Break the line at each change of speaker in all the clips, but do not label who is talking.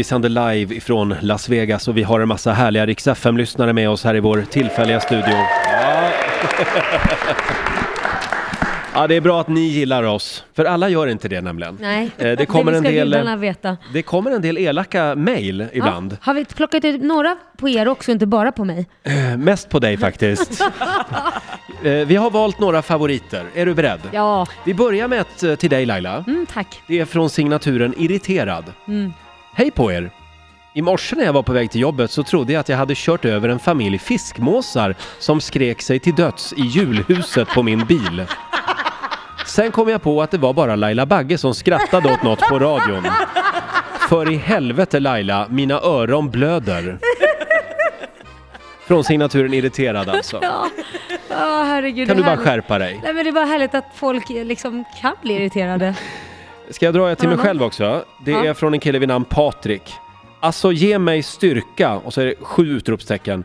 Vi sänder live ifrån Las Vegas och vi har en massa härliga Rix FM-lyssnare med oss här i vår tillfälliga studio. Ja. ja, det är bra att ni gillar oss, för alla gör inte det nämligen.
Nej,
Eh, Det kommer,
det
en
ska
del,
gudarna veta.
det kommer en del elaka mejl
Ja,
ibland.
Har vi plockat ut några på er också, inte bara på mig?
Eh, Mest på dig faktiskt. Eh, Vi har valt några favoriter. Är du beredd?
Ja,
Vi börjar med ett eh, till dig Laila.
mm, tack.
Det är från signaturen Irriterad.
Mm.
Hej på er! I morse när jag var på väg till jobbet så trodde jag att jag hade kört över en familj fiskmåsar som skrek sig till döds i julhuset på min bil. Sen kom jag på att det var bara Laila Bagge som skrattade åt något på radion. För i helvete Laila, mina öron blöder. Från signaturen Irriterad alltså.
Ja, oh, herregud.
Kan
det
du
är
bara
härligt.
skärpa dig?
Nej men det är bara härligt att folk liksom kan bli irriterade.
Ska jag dra ett till mig själv också? Det
Ja.
är från en kille vid namn Patrik. Alltså ge mig styrka och så är det sju utropstecken.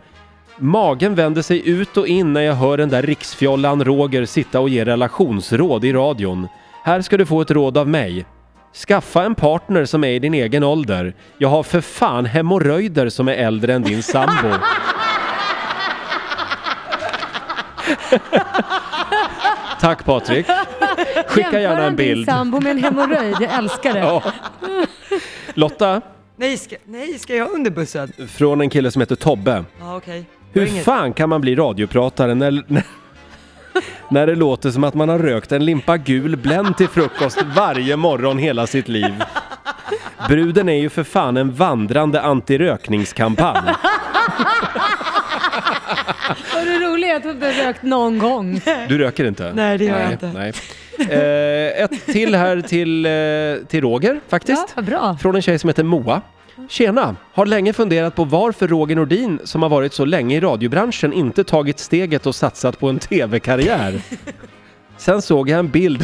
Magen vänder sig ut och in när jag hör den där riksfjollan Roger sitta och ge relationsråd i radion. Här ska du få ett råd av mig. Skaffa en partner som är i din egen ålder. Jag har för fan hemorrojder som är äldre än din sambo. Tack Patrik. Skicka
Jämför
gärna en
han din
bild.
sambo med en hemorrojd, jag älskar det.
Ja. Lotta,
Nej ska, nej, ska jag under bussen?
från en kille som heter Tobbe.
Ja, okej.
Hur
Det var inget-
fan kan man bli radiopratare när, när, när det låter som att man har rökt en limpa gul Blend till frukost varje morgon hela sitt liv? Bruden är ju för fan en vandrande antirökningskampanj.
Och det roliga är att du inte har rökt någon gång.
Du röker inte?
Nej, det gör jag inte.
Nej. Eh, ett till här till, eh, till Roger faktiskt.
Ja, vad bra.
från en tjej som heter Moa. Tjena! Har länge funderat på varför Roger Nordin, som har varit så länge i radiobranschen, inte tagit steget och satsat på en tv-karriär. Sen såg jag en bild...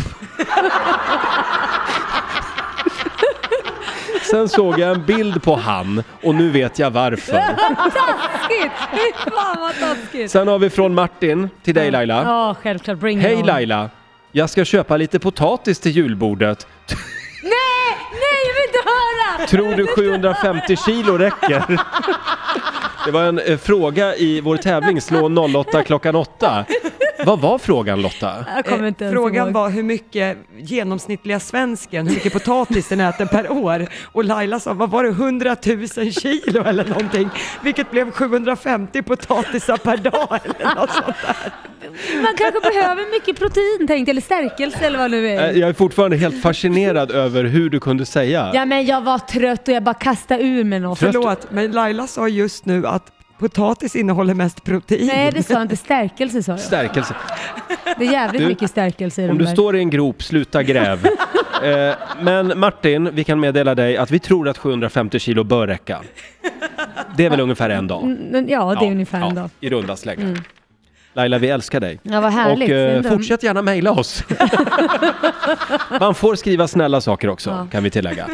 Sen såg jag en bild på han och nu vet jag varför.
Shit, fy fan vad taskigt.
Sen har vi från Martin till dig Laila.
Ja, självklart. Bring it
Hej
on.
Laila! Jag ska köpa lite potatis till julbordet.
Nej, nej, jag vill inte höra!
Tror du 750 kilo räcker? Det var en eh, fråga i vår tävling Slå 08 klockan 8. Vad var frågan Lotta?
Jag kommer inte ens
Eh, Frågan
ihåg.
var hur mycket genomsnittliga svensken, hur mycket potatis den äter per år. Och Laila sa, vad var det, 100 000 kilo eller någonting? Vilket blev 750 potatisar per dag eller något sånt där.
Man kanske behöver mycket protein tänkte jag, eller stärkelse eller vad det nu
Eh,
är.
Jag är fortfarande helt fascinerad över hur du kunde säga.
Ja men jag var trött och jag bara kastade ur mig något.
Trött?
Förlåt, men Laila sa just nu att potatis innehåller mest protein.
Nej det sa jag inte, stärkelse sa jag.
Stärkelse.
Det är jävligt
Du,
mycket stärkelse i
Om
de
du
där.
står i en grop, sluta gräv. Eh, Men Martin, vi kan meddela dig att vi tror att 750 kilo bör räcka. Det är väl ungefär en dag?
Men Ja det är ungefär
ja,
en dag. Mm.
I runda slängar. Laila, vi älskar dig.
Ja vad härligt.
Och eh,
Ändå.
fortsätt gärna mejla oss. Man får skriva snälla saker också,
Ja.
kan vi tillägga.